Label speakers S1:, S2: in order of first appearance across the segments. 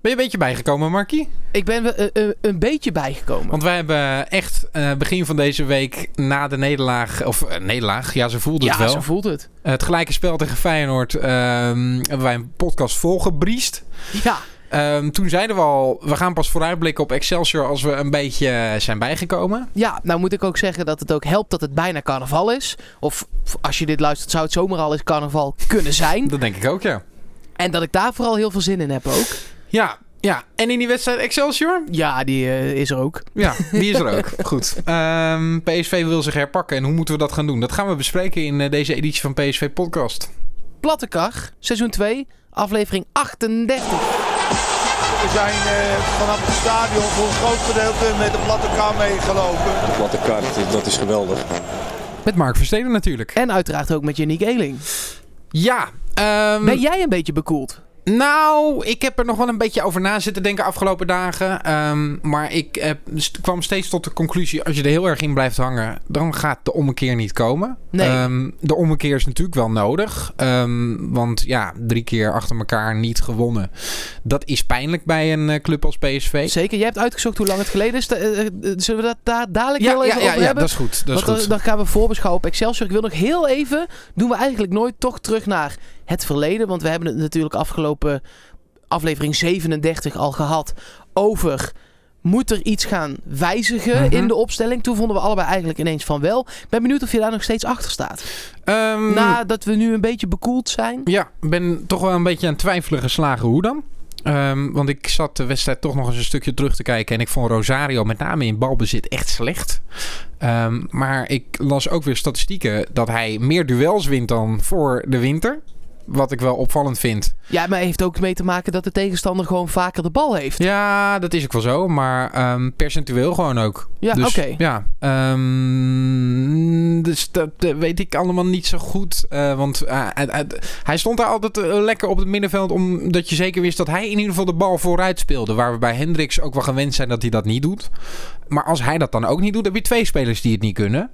S1: Ben je een beetje bijgekomen, Markie?
S2: Ik ben wel, eh, eh, een beetje bijgekomen.
S1: Want wij hebben echt eh, begin van deze week na de nederlaag... Of eh, nederlaag, ja, ze voelden
S2: ja,
S1: het wel. Eh,
S2: zo voelt het.
S1: Het gelijke spel tegen Feyenoord ehm, hebben wij een podcast volgebriest.
S2: Ja,
S1: Ehm, toen zeiden we al, we gaan pas vooruitblikken op Excelsior als we een beetje eh, zijn bijgekomen.
S2: ja, nou moet ik ook zeggen dat het ook helpt dat het bijna carnaval is. Of f- als je dit luistert, zou het zomaar al eens carnaval kunnen zijn.
S1: Dat denk ik ook, ja.
S2: En dat ik daar vooral heel veel zin in heb ook.
S1: Ja, ja. En in die wedstrijd Excelsior?
S2: Ja, die eh, is er ook.
S1: Ja, die is er ook. Goed. Ehm, PSV wil zich herpakken en hoe moeten we dat gaan doen? Dat gaan we bespreken in eh, deze editie van PSV Podcast.
S2: Platte Kar, seizoen 2, aflevering 38.
S3: We zijn eh, vanaf het stadion voor een groot gedeelte met de platte kar meegelopen.
S4: platte kaart, dat is geweldig.
S1: Met Mark Versteden natuurlijk.
S2: En uiteraard ook met Yannick Eeling.
S1: Mm. Ja. ehm,
S2: Ben jij een beetje bekoeld?
S1: Nou, ik heb er nog wel een beetje over na zitten denken afgelopen dagen. Ehm, maar ik eh, st- kwam steeds tot de conclusie: als je er heel erg in blijft hangen, dan gaat de ommekeer niet komen.
S2: Nee.
S1: Ehm, de ommekeer is natuurlijk wel nodig. Ehm, want ja, drie keer achter elkaar niet gewonnen. Dat is pijnlijk bij een eh, club als PSV.
S2: Zeker, jij hebt uitgezocht hoe lang het geleden is. Da- eh, eh, Zullen we dat daar dadelijk heel even
S1: ja,
S2: over
S1: ja,
S2: hebben?
S1: dat is goed. Dat is
S2: Want dan-
S1: goed.
S2: dan gaan we voorbeschouwen op Excelsior. Ik wil nog heel even, doen we eigenlijk nooit toch terug naar het verleden. Want we hebben het natuurlijk afgelopen aflevering 37 al gehad over... Moet er iets gaan wijzigen
S1: Mhm.
S2: in de opstelling? Toen vonden we allebei eigenlijk ineens van wel. Ik ben benieuwd of je daar nog steeds achter staat.
S1: Ehm,
S2: Nadat we nu een beetje bekoeld zijn.
S1: Ja, ik ben toch wel een beetje aan het twijfelen geslagen hoe dan. Ehm, want ik zat de wedstrijd toch nog eens een stukje terug te kijken. En ik vond Rosario met name in balbezit echt slecht. Ehm, maar ik las ook weer statistieken dat hij meer duels wint dan voor de winter. Wat ik wel opvallend vind.
S2: Ja, maar heeft ook mee te maken dat de tegenstander gewoon vaker de bal heeft.
S1: Ja, dat is ook wel zo. Maar ehm, percentueel gewoon ook.
S2: Ja,
S1: dus,
S2: oké.
S1: Ja, ehm, dus dat eh, weet ik allemaal niet zo goed. eh, want eh, hij- hij- hij stond daar altijd eh, lekker op het middenveld... omdat je zeker wist dat hij in ieder geval de bal vooruit speelde. Waar we bij Hendricks ook wel gewend zijn dat hij dat niet doet. Maar als hij dat dan ook niet doet, heb je twee spelers die het niet kunnen.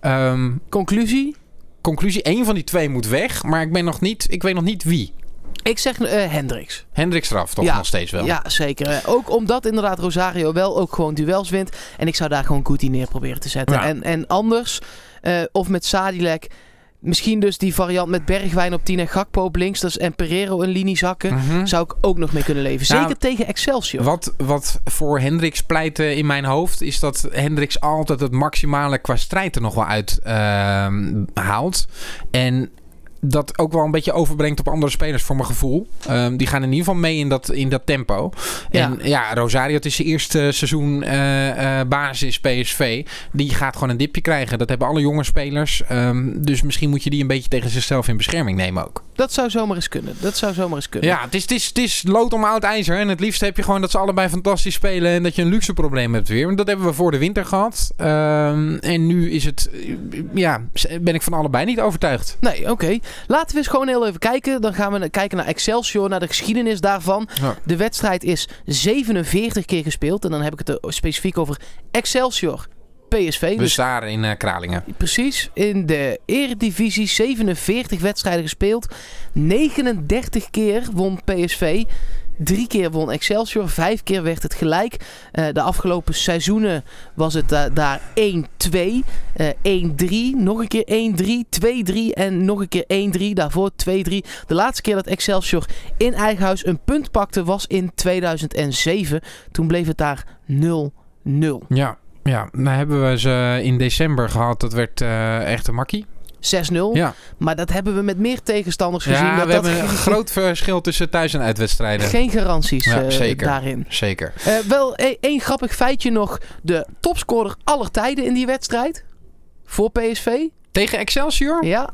S1: Ehm,
S2: Conclusie?
S1: conclusie, één van die twee moet weg. Maar ik, ben nog niet, ik weet nog niet wie.
S2: Ik zeg eh, Hendricks.
S1: Hendricks eraf toch
S2: Ja,
S1: nog steeds wel.
S2: Ja, zeker. Eh, Ook omdat inderdaad Rosario wel ook gewoon duels wint. En ik zou daar gewoon Kuti neer proberen te zetten.
S1: Ja.
S2: En, en anders, eh, of met Sadilek... Misschien dus die variant met Bergwijn op 10 en Gakpo op links. Dus en Pereiro een linie zakken.
S1: Mhm.
S2: Zou ik ook nog mee kunnen leven.
S1: Nou,
S2: Zeker tegen Excelsior.
S1: Wat, wat voor Hendricks pleitte in mijn hoofd is dat Hendricks altijd het maximale qua strijd er nog wel uit ehm, haalt. En dat ook wel een beetje overbrengt op andere spelers voor mijn gevoel. Ehm, die gaan in ieder geval mee in dat, in dat tempo. En ja, Rosario, het is zijn eerste seizoen eh, eh, basis PSV. Die gaat gewoon een dipje krijgen. Dat hebben alle jonge spelers. Ehm, dus misschien moet je die een beetje tegen zichzelf in bescherming nemen ook.
S2: Dat zou zomaar eens kunnen. Dat zou zomaar eens kunnen.
S1: Ja, het is, het, is, het is lood om oud ijzer. En het liefst heb je gewoon dat ze allebei fantastisch spelen. En dat je een luxe probleem hebt weer. Want dat hebben we voor de winter gehad. Ehm, en nu is het. eh, Ja, ben ik van allebei niet overtuigd.
S2: Nee, oké. Laten we eens gewoon heel even kijken. Dan gaan we kijken naar Excelsior, naar de geschiedenis daarvan.
S1: Ja.
S2: De wedstrijd is 47 keer gespeeld. En dan heb ik het er specifiek over Excelsior PSV.
S1: We
S2: Dus
S1: staan in eh, Kralingen.
S2: precies in de Eredivisie 47 wedstrijden gespeeld. 39 keer won PSV. Drie keer won Excelsior, vijf keer werd het gelijk. Eh, de afgelopen seizoenen was het da- daar 1-2, eh, 1-3, nog een keer 1-3, 2-3 en nog een keer 1-3, daarvoor 2-3. De laatste keer dat Excelsior in eigen huis een punt pakte was in 2007. Toen bleef het daar 0-0.
S1: Ja. Ja, nou hebben we ze in december gehad. Dat werd eh, echt een makkie.
S2: 6-0.
S1: Ja.
S2: Maar dat hebben we met meer tegenstanders gezien.
S1: Ja,
S2: dat
S1: we
S2: dat
S1: hebben een
S2: geen-
S1: groot verschil tussen thuis- en uitwedstrijden.
S2: geen garanties
S1: Ja,
S2: eh,
S1: zeker.
S2: daarin.
S1: Zeker.
S2: Eh, wel e- één grappig feitje nog. De topscorer aller tijden in die wedstrijd. Voor PSV.
S1: Tegen Excelsior?
S2: Ja,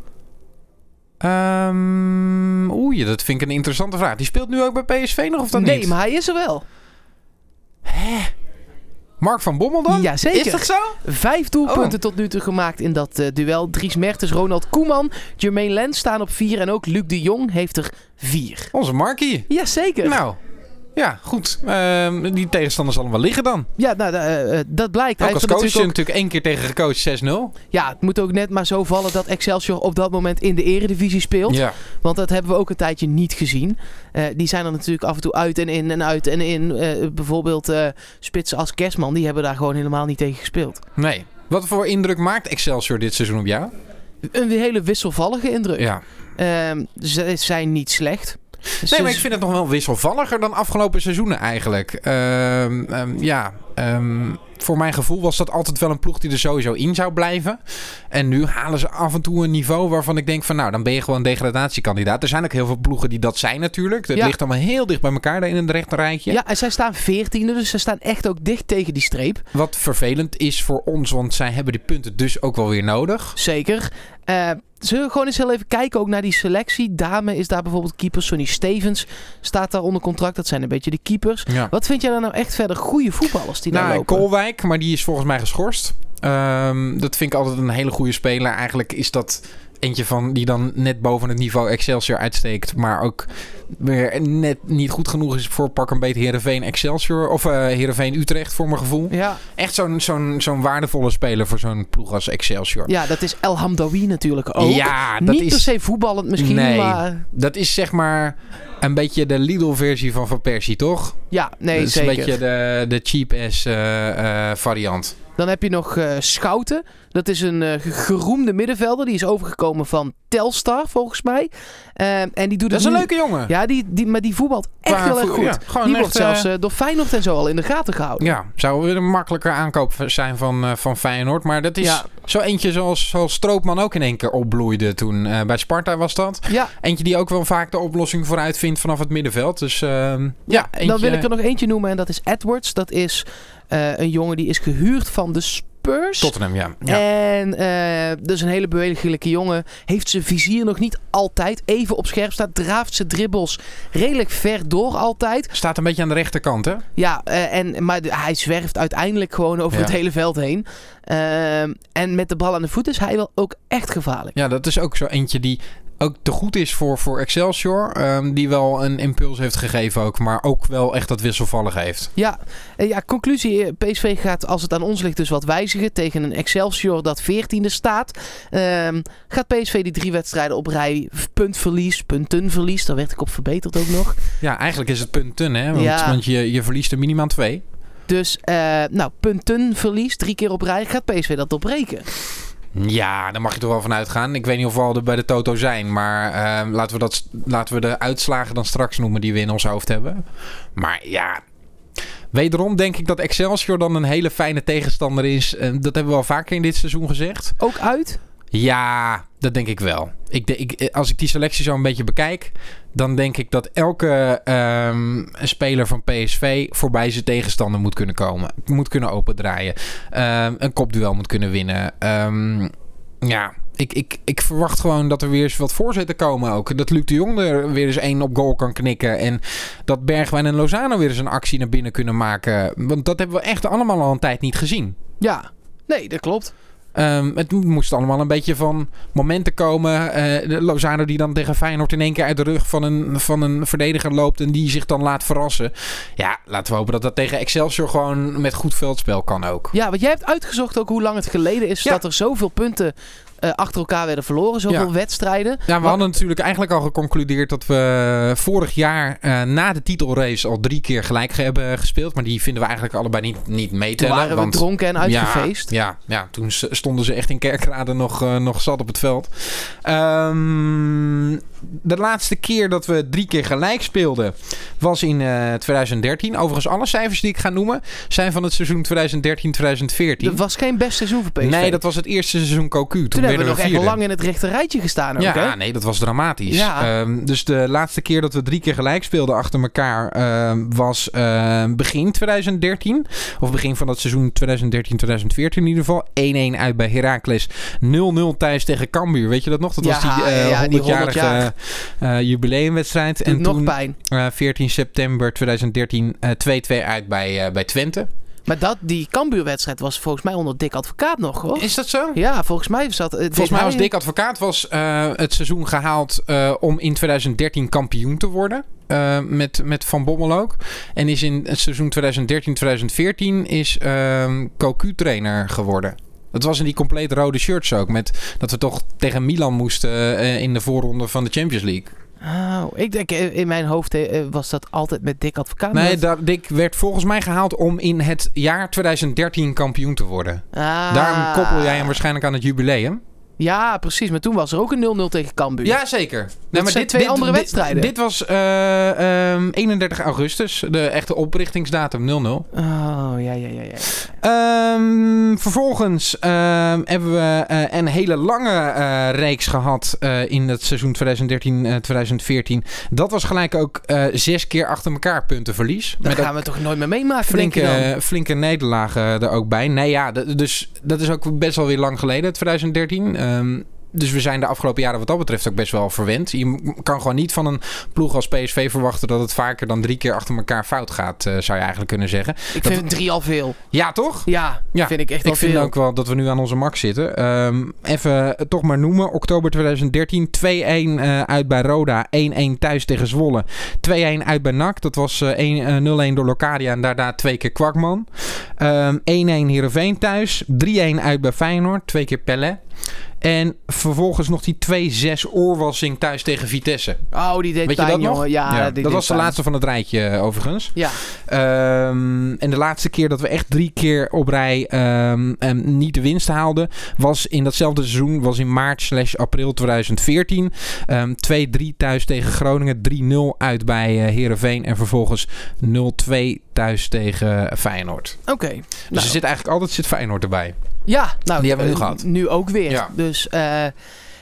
S1: Ehm, oei, dat vind ik een interessante vraag. Die speelt nu ook bij PSV nog of dat
S2: nee,
S1: niet?
S2: maar hij is er wel.
S1: Mark van Bommel dan?
S2: Ja, zeker.
S1: Is dat Oh. zo?
S2: Vijf doelpunten tot nu toe gemaakt in dat eh, duel. Dries Mertens, Ronald Koeman, Jermaine Lens staan op vier. En ook Luc de Jong heeft er vier.
S1: Onze Markie.
S2: Jazeker.
S1: Nou, Ja, goed. Ehm, die tegenstander zal hem wel liggen dan.
S2: Ja, nou, eh, eh, dat blijkt.
S1: Ook
S2: Hij
S1: als
S2: heeft
S1: coach
S2: er
S1: natuurlijk,
S2: natuurlijk ook-
S1: één keer tegen gecoacht 6-0.
S2: ja, het moet ook net maar zo vallen dat Excelsior op dat moment in de eredivisie speelt.
S1: Ja.
S2: Want dat hebben we ook een tijdje niet gezien. Eh, die zijn er natuurlijk af en toe uit en in en uit en in. Eh, bijvoorbeeld eh, spitsen als Kerstman, die hebben daar gewoon helemaal niet tegen gespeeld.
S1: Nee. Wat voor indruk maakt Excelsior dit seizoen op jou?
S2: Een hele wisselvallige indruk.
S1: Ja.
S2: Ehm, ze zijn niet slecht.
S1: Nee,
S2: Ze-
S1: maar ik vind het nog wel wisselvalliger dan afgelopen seizoenen eigenlijk. Ehm, ehm, ja, ehm, voor mijn gevoel was dat altijd wel een ploeg die er sowieso in zou blijven. En nu halen ze af en toe een niveau waarvan ik denk van... nou, dan ben je gewoon degradatiekandidaat. Er zijn ook heel veel ploegen die dat zijn natuurlijk. Dat
S2: Ja.
S1: ligt allemaal heel dicht bij elkaar daar in een rechte rijtje.
S2: Ja, en zij staan veertiende, dus ze staan echt ook dicht tegen die streep.
S1: Wat vervelend is voor ons, want zij hebben die punten dus ook wel weer nodig.
S2: Zeker. Eh, zullen we gewoon eens heel even kijken ook naar die selectie? Dame is daar bijvoorbeeld keeper. Sonny Stevens staat daar onder contract. Dat zijn een beetje de keepers.
S1: Ja.
S2: Wat vind jij daar nou echt verder goede voetballers die daar
S1: Nou,
S2: lopen?
S1: Kolwijk, maar die is volgens mij geschorst. Ehm, dat vind ik altijd een hele goede speler. Eigenlijk is dat eentje van die dan net boven het niveau Excelsior uitsteekt. Maar ook weer net niet goed genoeg is voor pak een beet Heerenveen Excelsior. Of eh Heerenveen Utrecht voor mijn gevoel.
S2: Ja,
S1: Echt zo'n zo'n zo'n waardevolle speler voor zo'n ploeg als Excelsior.
S2: ja, dat is El Hamdawi natuurlijk ook.
S1: Ja, dat
S2: Niet
S1: is-
S2: per se voetballend misschien,
S1: Nee.
S2: maar...
S1: Dat is zeg maar een beetje de Lidl-versie van Van Persie, toch?
S2: Ja, nee,
S1: dat is
S2: zeker.
S1: een beetje de, de cheap-ass eh, eh, variant.
S2: Dan heb je nog eh, Schouten. Dat is een eh, ge- geroemde middenvelder. Die is overgekomen van Telstar, volgens mij. Eh, en die doet
S1: Dat
S2: het
S1: is een
S2: nu-
S1: leuke jongen.
S2: Ja, die, die, maar die voetbalt echt
S1: Qua
S2: heel erg
S1: voet-
S2: goed.
S1: ja, gewoon
S2: die
S1: echt,
S2: wordt zelfs
S1: eh,
S2: eh, door Feyenoord en zo al in de gaten gehouden.
S1: Ja, zou weer een makkelijker aankoop zijn van, eh, van Feyenoord. Maar dat is
S2: Ja.
S1: zo eentje zoals, zoals Stroopman ook in één keer opbloeide toen. eh, bij Sparta was dat.
S2: Ja,
S1: Eentje die ook wel vaak de oplossing vooruit vindt vanaf het middenveld. Dus ehm, ja, eentje...
S2: dan wil ik er nog eentje noemen en dat is Edwards. Dat is eh, een jongen die is gehuurd van de Spurs.
S1: Tottenham, ja. ja.
S2: En eh, dus een hele bewegelijke jongen. Heeft zijn vizier nog niet altijd even op scherp staat. Draaft zijn dribbels redelijk ver door altijd.
S1: Staat een beetje aan de rechterkant, hè?
S2: Ja, eh, en, maar de- hij zwerft uiteindelijk gewoon over
S1: Ja.
S2: het hele veld heen. Ehm, en met de bal aan de voet is hij wel ook echt gevaarlijk.
S1: Ja, dat is ook zo eentje die ook te goed is voor, voor Excelsior. ehm, die wel een impuls heeft gegeven ook. Maar ook wel echt dat wisselvallig heeft.
S2: Ja, eh, ja, conclusie. eh, PSV gaat, als het aan ons ligt, dus wat wijzigen. Tegen een Excelsior dat 14e staat. Ehm, gaat PSV die drie wedstrijden op rij. v- Puntverlies, puntenverlies. Daar werd ik op verbeterd ook nog.
S1: Ja, eigenlijk is het punten, hè? Want,
S2: Ja.
S1: want je, je verliest er minimaal twee.
S2: Dus, eh nou, puntenverlies. Drie keer op rij. Gaat PSV dat doorbreken?
S1: Ja, daar mag je toch wel van uitgaan. Ik weet niet of we al de- bij de Toto zijn. Maar ehm, laten, we dat, laten we de uitslagen dan straks noemen die we in ons hoofd hebben. Maar ja. Wederom denk ik dat Excelsior dan een hele fijne tegenstander is. Eh, dat hebben we al vaker in dit seizoen gezegd.
S2: Ook uit?
S1: Ja, dat denk ik wel. Ik, de- ik, eh, als ik die selectie zo een beetje bekijk, dan denk ik dat elke ehm, speler van PSV voorbij zijn tegenstander moet kunnen komen. Moet kunnen opendraaien. Ehm, een kopduel moet kunnen winnen. Ehm, ja, ik, ik, ik verwacht gewoon dat er weer eens wat voorzetten komen ook. Dat Luc de Jong er weer eens één op goal kan knikken. En dat Bergwijn en Lozano weer eens een actie naar binnen kunnen maken. Want dat hebben we echt allemaal al een tijd niet gezien.
S2: Ja. Nee, dat klopt.
S1: Ehm, het moest allemaal een beetje van momenten komen. Eh, de Lozano die dan tegen Feyenoord in één keer uit de rug van een, van een verdediger loopt en die zich dan laat verrassen. Ja, laten we hopen dat dat tegen Excelsior gewoon met goed veldspel kan ook.
S2: Ja, want jij hebt uitgezocht ook hoe lang het geleden is
S1: Ja.
S2: dat er zoveel punten eh, achter elkaar werden verloren. Zoveel
S1: Ja.
S2: wedstrijden.
S1: Ja, we
S2: Wat-
S1: hadden natuurlijk eigenlijk al geconcludeerd dat we vorig jaar eh, na de titelrace al drie keer gelijk ge- hebben gespeeld. Maar die vinden we eigenlijk allebei niet, niet
S2: Toen
S1: meetellen.
S2: waren we
S1: want-
S2: dronken en uitgefeest.
S1: Ja, ja, ja, toen s- stonden ze echt in kerkrade nog, eh, nog zat op het veld. Ehm, de laatste keer dat we drie keer gelijk speelden was in eh, 2013. Overigens, alle cijfers die ik ga noemen zijn van het seizoen 2013-2014.
S2: Het was geen best seizoen voor PSV.
S1: Nee, dat was het eerste seizoen Cocu. Toen,
S2: Toen,
S1: werden
S2: hebben we nog echt
S1: vierde.
S2: lang in het rechte rijtje gestaan ook,
S1: Ja,
S2: hè?
S1: nee, dat was dramatisch.
S2: Nou, Ja.
S1: Ehm, dus de laatste keer dat we drie keer gelijk speelden achter elkaar ehm, was ehm, begin 2013. Of begin van dat seizoen 2013-2014 in ieder geval. 1-1 uit bij Heracles. 0-0 thuis tegen Cambuur. Weet je dat nog? Dat was die,
S2: Ja,
S1: eh
S2: ja, die
S1: 100-jarige
S2: 100
S1: eh, jubileumwedstrijd.
S2: Doet
S1: en
S2: nog
S1: toen
S2: pijn.
S1: eh, 14 september 2013 eh, 2-2 uit bij, eh, bij Twente.
S2: Maar dat, die Cambuurwedstrijd was volgens mij onder Dick Advocaat nog, hoor.
S1: Is dat zo?
S2: Ja, volgens mij zat... eh,
S1: Volgens mij was Dick Advocaat was, eh, het seizoen gehaald eh, om in 2013 kampioen te worden. eh, met, met Van Bommel ook. En is in het seizoen 2013-2014 is ehm CoQ-trainer geworden. Dat was in die compleet rode shirts ook. Met, dat we toch tegen Milan moesten eh, in de voorronde van de Champions League.
S2: Oh, ik denk, eh, in mijn hoofd eh, eh, was dat altijd met Dick Advocaat.
S1: Nee, daar, Dick werd volgens mij gehaald om in het jaar 2013 kampioen te worden.
S2: Ah.
S1: Daarom koppel jij hem waarschijnlijk aan het jubileum.
S2: Ja, precies. Maar toen was er ook een 0-0 tegen Cambuur.
S1: Ja, zeker. Nee,
S2: zijn twee andere wedstrijden.
S1: Dit, was eh, ehm, 31 augustus, de echte oprichtingsdatum 0-0.
S2: Oh, ja, ja, ja. ja.
S1: Ehm, vervolgens ehm, hebben we eh, een hele lange eh, reeks gehad eh, in het seizoen 2013-2014. Dat was gelijk ook eh, zes keer achter elkaar puntenverlies.
S2: Dat
S1: Met ook
S2: gaan we toch nooit meer meemaken, denk ik dan.
S1: flinke, eh, flinke nederlagen er ook bij. Nee ja, d- dus dat is ook best wel weer lang geleden, 2013. Ehm, dus we zijn de afgelopen jaren wat dat betreft ook best wel verwend. Je m- kan gewoon niet van een ploeg als PSV verwachten dat het vaker dan drie keer achter elkaar fout gaat, eh, zou je eigenlijk kunnen zeggen.
S2: Ik
S1: dat-
S2: vind drie al veel.
S1: Ja, toch?
S2: Ja,
S1: Ja,
S2: vind ik echt al
S1: Ik vind
S2: veel.
S1: ook wel dat we nu aan onze max zitten. Ehm, even het toch maar noemen. Oktober 2013, 2-1 eh, uit bij Roda, 1-1 thuis tegen Zwolle. 2-1 uit bij NAC, dat was eh, 1 eh, 0-1 door Locadia en daarna twee keer Kwakman. Ehm, 1-1 Heerenveen thuis, 3-1 uit bij Feyenoord, twee keer Pelle. En vervolgens nog die 2-6 oorwassing thuis tegen Vitesse.
S2: Oh, die deed
S1: Weet je
S2: pijn,
S1: dat nog?
S2: jongen. Ja, die
S1: dat
S2: deed
S1: was de
S2: pijn.
S1: laatste van het rijtje eh, overigens.
S2: Ja,
S1: Ehm, en de laatste keer dat we echt drie keer op rij ehm, ehm, niet de winst haalden, was in datzelfde seizoen, was in maart slash april 2014. Ehm, 2-3 thuis tegen Groningen, 3-0 uit bij eh, Heerenveen en vervolgens 0-2 thuis tegen eh, Feyenoord.
S2: oké.
S1: Dus
S2: Nou,
S1: er zit eigenlijk altijd zit Feyenoord erbij.
S2: Ja, nou,
S1: Die hebben we nu
S2: eh,
S1: gehad.
S2: Nu ook weer.
S1: Ja.
S2: Dus, eh,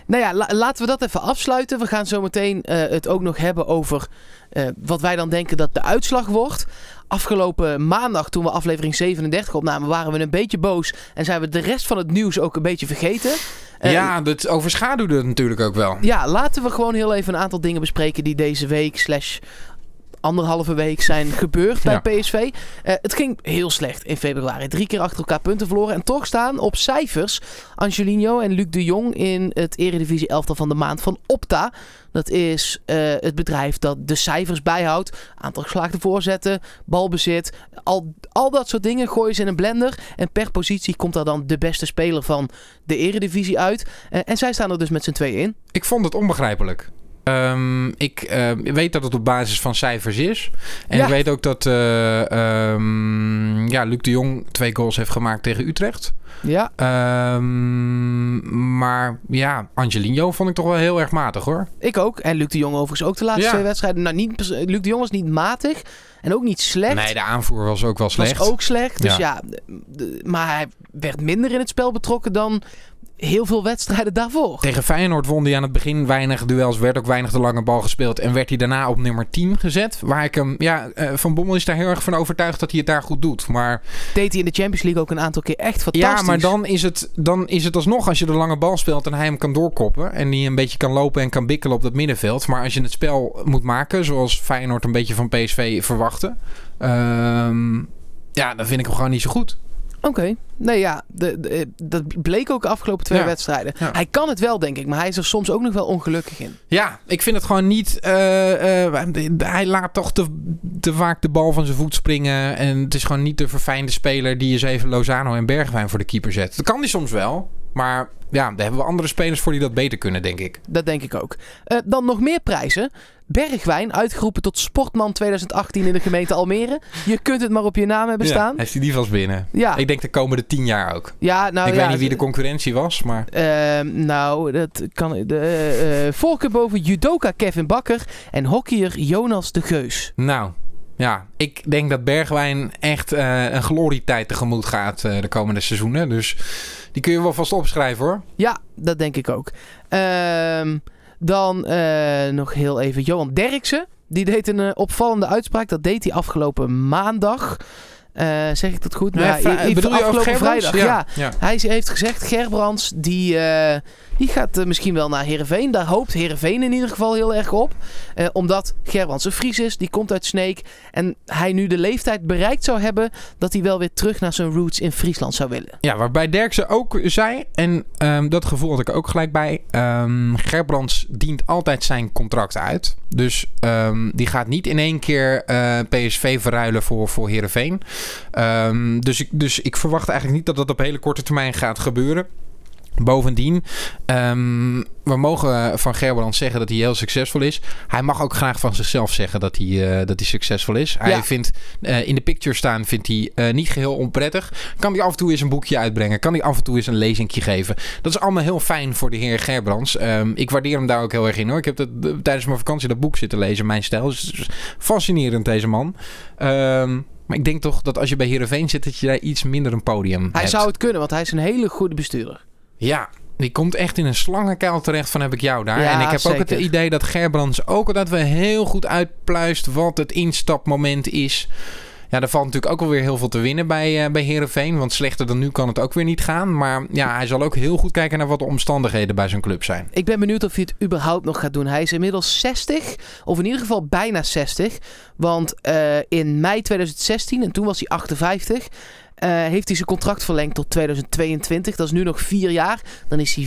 S2: nou ja, la- laten we dat even afsluiten. We gaan zo meteen eh, het ook nog hebben over eh, wat wij dan denken dat de uitslag wordt. Afgelopen maandag, toen we aflevering 37 opnamen, waren we een beetje boos. En zijn we de rest van het nieuws ook een beetje vergeten. Eh,
S1: ja, dat overschaduwde het natuurlijk ook wel.
S2: Ja, laten we gewoon heel even een aantal dingen bespreken die deze week slash anderhalve week zijn gebeurd bij
S1: Ja.
S2: PSV. Eh, het ging heel slecht in februari. Drie keer achter elkaar punten verloren. En toch staan op cijfers Angelino en Luc de Jong in het eredivisie elftal van de maand van Opta. Dat is eh, het bedrijf dat de cijfers bijhoudt. Aantal geslaagde voorzetten, balbezit. Al, al dat soort dingen gooien ze in een blender. En per positie komt daar dan de beste speler van de eredivisie uit. Eh, en zij staan er dus met z'n tweeën in.
S1: Ik vond het onbegrijpelijk. Ehm, ik ehm, weet dat het op basis van cijfers is. En
S2: Ja.
S1: ik weet ook dat eh, ehm, ja, Luc de Jong twee goals heeft gemaakt tegen Utrecht.
S2: Ja,
S1: Ehm, maar ja, Angelino vond ik toch wel heel erg matig hoor.
S2: Ik ook. En Luc de Jong overigens ook de laatste
S1: Ja.
S2: twee wedstrijden. Nou, niet, pers- Luc de Jong was niet matig. En ook niet slecht.
S1: Nee, de aanvoer was ook wel slecht.
S2: Was ook slecht. Dus
S1: Ja.
S2: ja. d- d- maar hij werd minder in het spel betrokken dan heel veel wedstrijden daarvoor.
S1: Tegen Feyenoord won hij aan het begin weinig duels, werd ook weinig de lange bal gespeeld en werd hij daarna op nummer 10 gezet. Waar ik hem, ja, eh, Van Bommel is daar heel erg van overtuigd dat hij het daar goed doet. Maar
S2: Deed hij in de Champions League ook een aantal keer echt fantastisch.
S1: Ja, maar dan is, het, dan is het alsnog als je de lange bal speelt en hij hem kan doorkoppen. En die een beetje kan lopen en kan bikkelen op dat middenveld. Maar als je het spel moet maken, zoals Feyenoord een beetje van PSV verwachtte. ehm, ja, dan vind ik hem gewoon niet zo goed.
S2: Oké. Nee, ja. de- de- eh, dat bleek ook de afgelopen twee
S1: Ja.
S2: wedstrijden.
S1: Ja.
S2: Hij kan het wel, denk ik. Maar hij is er soms ook nog wel ongelukkig in.
S1: Ja, ik vind het gewoon niet. eh, eh, hij laat toch te, te vaak de bal van zijn voet springen. En het is gewoon niet de verfijnde speler die eens even Lozano en Bergwijn voor de keeper zet. Dat kan hij soms wel. Maar ja, daar hebben we andere spelers voor die dat beter kunnen, denk ik.
S2: Dat denk ik ook. Eh, dan nog meer prijzen. Bergwijn, uitgeroepen tot Sportman 2018 in de gemeente Almere. Je kunt het maar op je naam hebben staan.
S1: Ja, heeft hij die vast binnen?
S2: Ja,
S1: Ik denk de komende tien jaar ook.
S2: ja nou
S1: ik
S2: Ah. ja.
S1: weet niet wie de concurrentie was, maar...
S2: Ehm, nou, dat kan. De, eh, eh, voorkeur boven judoka Kevin Bakker en hockeyer Jonas de Geus.
S1: Nou, ja. Ik denk dat Bergwijn echt eh, een glorietijd tegemoet gaat eh, de komende seizoenen. Dus die kun je wel vast opschrijven, hoor.
S2: Ja, dat denk ik ook. Ehm, dan eh, nog heel even Johan Derksen. Die deed een eh, opvallende uitspraak. Dat deed hij afgelopen maandag. Eh, zeg ik dat goed?
S1: Nee,
S2: Nou ja,
S1: vrij-
S2: i- i-
S1: bedoel je
S2: afgelopen
S1: over Gerbrands?
S2: vrijdag. Ja.
S1: ja.
S2: Hij ze- heeft gezegd, Gerbrands, die, eh, die gaat eh, misschien wel naar Heerenveen. Daar hoopt Heerenveen in ieder geval heel erg op. Eh, omdat Gerbrands een Fries is, die komt uit Sneek. En hij nu de leeftijd bereikt zou hebben dat hij wel weer terug naar zijn roots in Friesland zou willen.
S1: Ja, waarbij Derksen ook zei, en ehm, dat gevoel had ik ook gelijk bij, ehm, Gerbrands dient altijd zijn contract uit. Dus ehm, die gaat niet in één keer eh, PSV verruilen voor, voor Heerenveen. Ehm, dus, ik, dus ik verwacht eigenlijk niet dat dat op hele korte termijn gaat gebeuren. Bovendien, ehm, we mogen van Gerbrands zeggen dat hij heel succesvol is. Hij mag ook graag van zichzelf zeggen dat hij, eh, dat hij succesvol is. Hij
S2: Ja.
S1: vindt eh, in de picture staan vindt hij eh, niet geheel onprettig. Kan hij af en toe eens een boekje uitbrengen? Kan hij af en toe eens een lezingje geven? Dat is allemaal heel fijn voor de heer Gerbrands. Ehm, ik waardeer hem daar ook heel erg in hoor. Ik heb dat, eh, tijdens mijn vakantie dat boek zitten lezen, Mijn Stijl. Dus het is fascinerend deze man. Ehm, maar ik denk toch dat als je bij Heerenveen zit, dat je daar iets minder een podium hebt.
S2: Hij zou het kunnen, want hij is een hele goede bestuurder.
S1: Ja, die komt echt in een slangenkuil terecht van heb ik jou daar.
S2: Ja,
S1: en ik heb ook het
S2: zeker.
S1: idee dat Gerbrands ook dat we heel goed uitpluist wat het instapmoment is. Ja, er valt natuurlijk ook alweer heel veel te winnen bij, eh bij Heerenveen. Want slechter dan nu kan het ook weer niet gaan. Maar ja, hij zal ook heel goed kijken naar wat de omstandigheden bij zijn club zijn.
S2: Ik ben benieuwd of hij het überhaupt nog gaat doen. Hij is inmiddels 60, of in ieder geval bijna 60. Want eh, in mei 2016, en toen was hij 58, eh, heeft hij zijn contract verlengd tot 2022. Dat is nu nog vier jaar. Dan is hij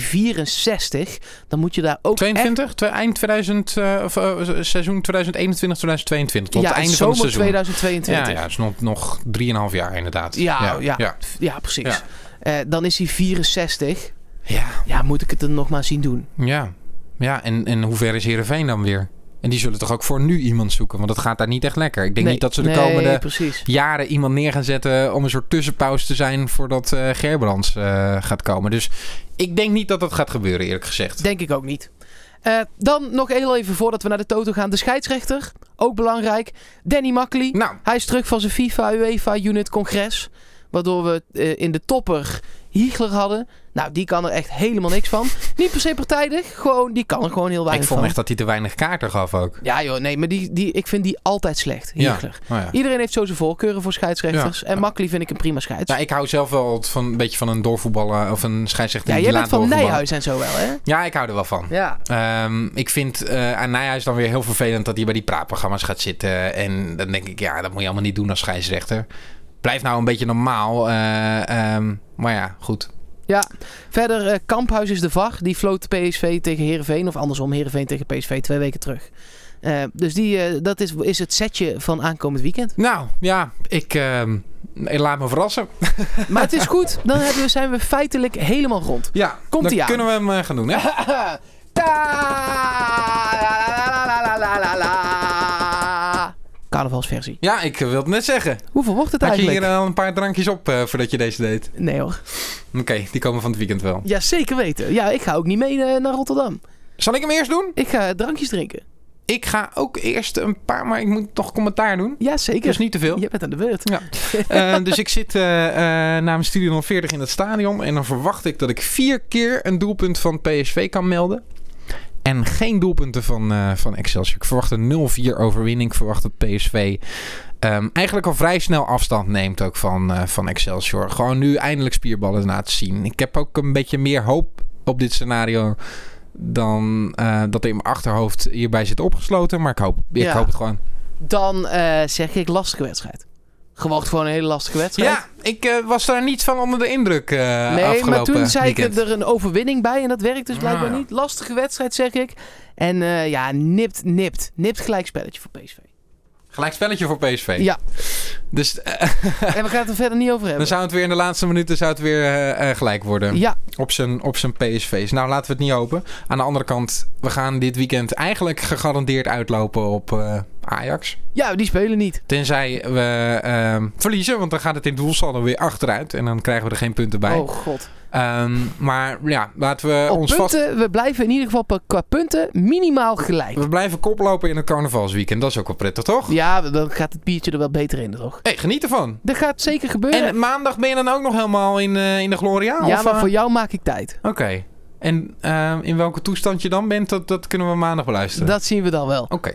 S2: 64. Dan moet je daar ook echt...
S1: 22? Twe- eind 2000, eh, of, eh, seizoen 2021, 2022. Tot
S2: ja,
S1: het einde van
S2: zomer
S1: het seizoen.
S2: 2022.
S1: Ja, ja, het is nog, nog 3,5 jaar inderdaad.
S2: Ja, ja.
S1: ja.
S2: Ja, precies.
S1: Ja.
S2: Eh, dan is hij 64.
S1: ja.
S2: Ja, moet ik het dan nog maar zien doen.
S1: Ja, ja en, en hoe ver is Heerenveen dan weer? En die zullen toch ook voor nu iemand zoeken? Want dat gaat daar niet echt lekker. Ik denk niet dat ze de
S2: nee,
S1: komende
S2: precies.
S1: jaren iemand neer gaan zetten... om een soort tussenpauze te zijn voordat eh, Gerbrands eh, gaat komen. Dus ik denk niet dat dat gaat gebeuren, eerlijk gezegd.
S2: Denk ik ook niet. Eh, dan nog heel even voordat we naar de Toto gaan. De scheidsrechter, ook belangrijk. Danny Makkely.
S1: Nou,
S2: Hij is terug van zijn FIFA UEFA Unit Congres. Waardoor we eh, in de topper Hiegler hadden. Nou, die kan er echt helemaal niks van. Niet per se partijdig, gewoon, die kan er gewoon heel
S1: ik
S2: weinig
S1: vond
S2: van.
S1: echt dat hij te weinig kaarten gaf ook.
S2: Ja joh, nee, maar die, die, ik vind die altijd slecht,
S1: Ja.
S2: Hiegler.
S1: Nou ja.
S2: Iedereen heeft zo zijn voorkeuren voor scheidsrechters.
S1: Ja.
S2: En Makkely vind ik een prima scheids.
S1: Nou, ik hou zelf wel van, een beetje van een doorvoetballen of een scheidsrechter
S2: ja,
S1: die
S2: jij
S1: laat
S2: bent van
S1: doorvoetballen.
S2: Nijhuis en zo wel, hè?
S1: Ja, ik hou er wel van.
S2: Ja.
S1: Ehm, ik vind eh, aan Nijhuis dan weer heel vervelend dat hij bij die praatprogramma's gaat zitten. En dan denk ik, ja, dat moet je allemaal niet doen als scheidsrechter. Blijf nou een beetje normaal. eh, ehm, maar ja, goed.
S2: Verder, eh, Kamphuis is de VAR. Die floot PSV tegen Heerenveen. Of andersom, Heerenveen tegen PSV twee weken terug. Eh, dus die, eh, dat is, is het setje van aankomend weekend.
S1: Nou, ja, ik, ehm, ik laat me verrassen.
S2: Maar het is goed. Dan hebben we, zijn we feitelijk helemaal rond.
S1: Ja,
S2: Komt-ie
S1: dan
S2: aan.
S1: kunnen we hem eh, gaan doen. Hè?
S2: Ta- Carnavalsversie.
S1: Ja, ik eh, wilde het net zeggen.
S2: Hoeveel wordt het
S1: Had je
S2: eigenlijk?
S1: hier al een paar drankjes op eh, voordat je deze deed?
S2: Nee hoor.
S1: Oké, die komen van het weekend wel.
S2: Ja, zeker weten. Ja, ik ga ook niet mee eh, naar Rotterdam.
S1: Zal ik hem eerst doen?
S2: Ik ga drankjes drinken.
S1: Ik ga ook eerst een paar, maar ik moet nog commentaar doen.
S2: Ja, zeker.
S1: Dus niet te veel.
S2: Je bent aan de beurt.
S1: Ja. Eh, dus ik zit eh eh namens Studio 040 in het stadion. En dan verwacht ik dat ik vier keer een doelpunt van PSV kan melden. En geen doelpunten van, eh, van Excelsior. Ik verwacht een 0-4 overwinning. Ik verwacht dat PSV ehm, eigenlijk al vrij snel afstand neemt ook van, eh, van Excelsior. Gewoon nu eindelijk spierballen laten zien. Ik heb ook een beetje meer hoop op dit scenario dan eh, dat in mijn achterhoofd hierbij zit opgesloten. Maar ik hoop, ik
S2: Ja.
S1: hoop het gewoon.
S2: Dan eh, zeg ik lastige wedstrijd. Gewoon gewoon een hele lastige wedstrijd.
S1: Ja, ik eh, was daar niet van onder de indruk eh
S2: Nee,
S1: afgelopen
S2: maar toen zei
S1: weekend.
S2: ik er een overwinning bij en dat werkt dus blijkbaar
S1: Ah, ja.
S2: niet. Lastige wedstrijd, zeg ik. En eh, ja, nipt, nipt. Nipt gelijkspelletje voor PSV.
S1: Gelijk spelletje voor PSV.
S2: eh, Ja.
S1: Dus eh,
S2: en we gaan het er verder niet over
S1: dan
S2: hebben.
S1: zou het weer in de laatste minuten zou het weer, eh, eh, gelijk worden.
S2: Ja,
S1: Op zijn, op zijn PSV's. Nou, laten we het niet hopen. Aan de andere kant, we gaan dit weekend eigenlijk gegarandeerd uitlopen op eh, Ajax.
S2: ja, die spelen niet.
S1: Tenzij we ehm, verliezen, want dan gaat het in doelsaldo weer achteruit. En dan krijgen we er geen punten bij.
S2: Oh god.
S1: Ehm, maar ja, laten we
S2: Op
S1: Eh, ons vast...
S2: punten, we blijven in ieder geval per- qua punten minimaal gelijk.
S1: We blijven koplopen in het carnavalsweekend. Dat is ook wel prettig, toch?
S2: Ja, dan gaat het biertje er wel beter in, toch?
S1: Hey, geniet ervan.
S2: Dat gaat zeker gebeuren.
S1: En maandag ben je dan ook nog helemaal in, eh, in de Gloria?
S2: ja,
S1: of,
S2: maar
S1: eh,
S2: voor jou maak ik tijd.
S1: Oké. eh, En ehm, in welke toestand je dan bent, dat, dat kunnen we maandag beluisteren.
S2: Dat zien we dan wel.
S1: Oké.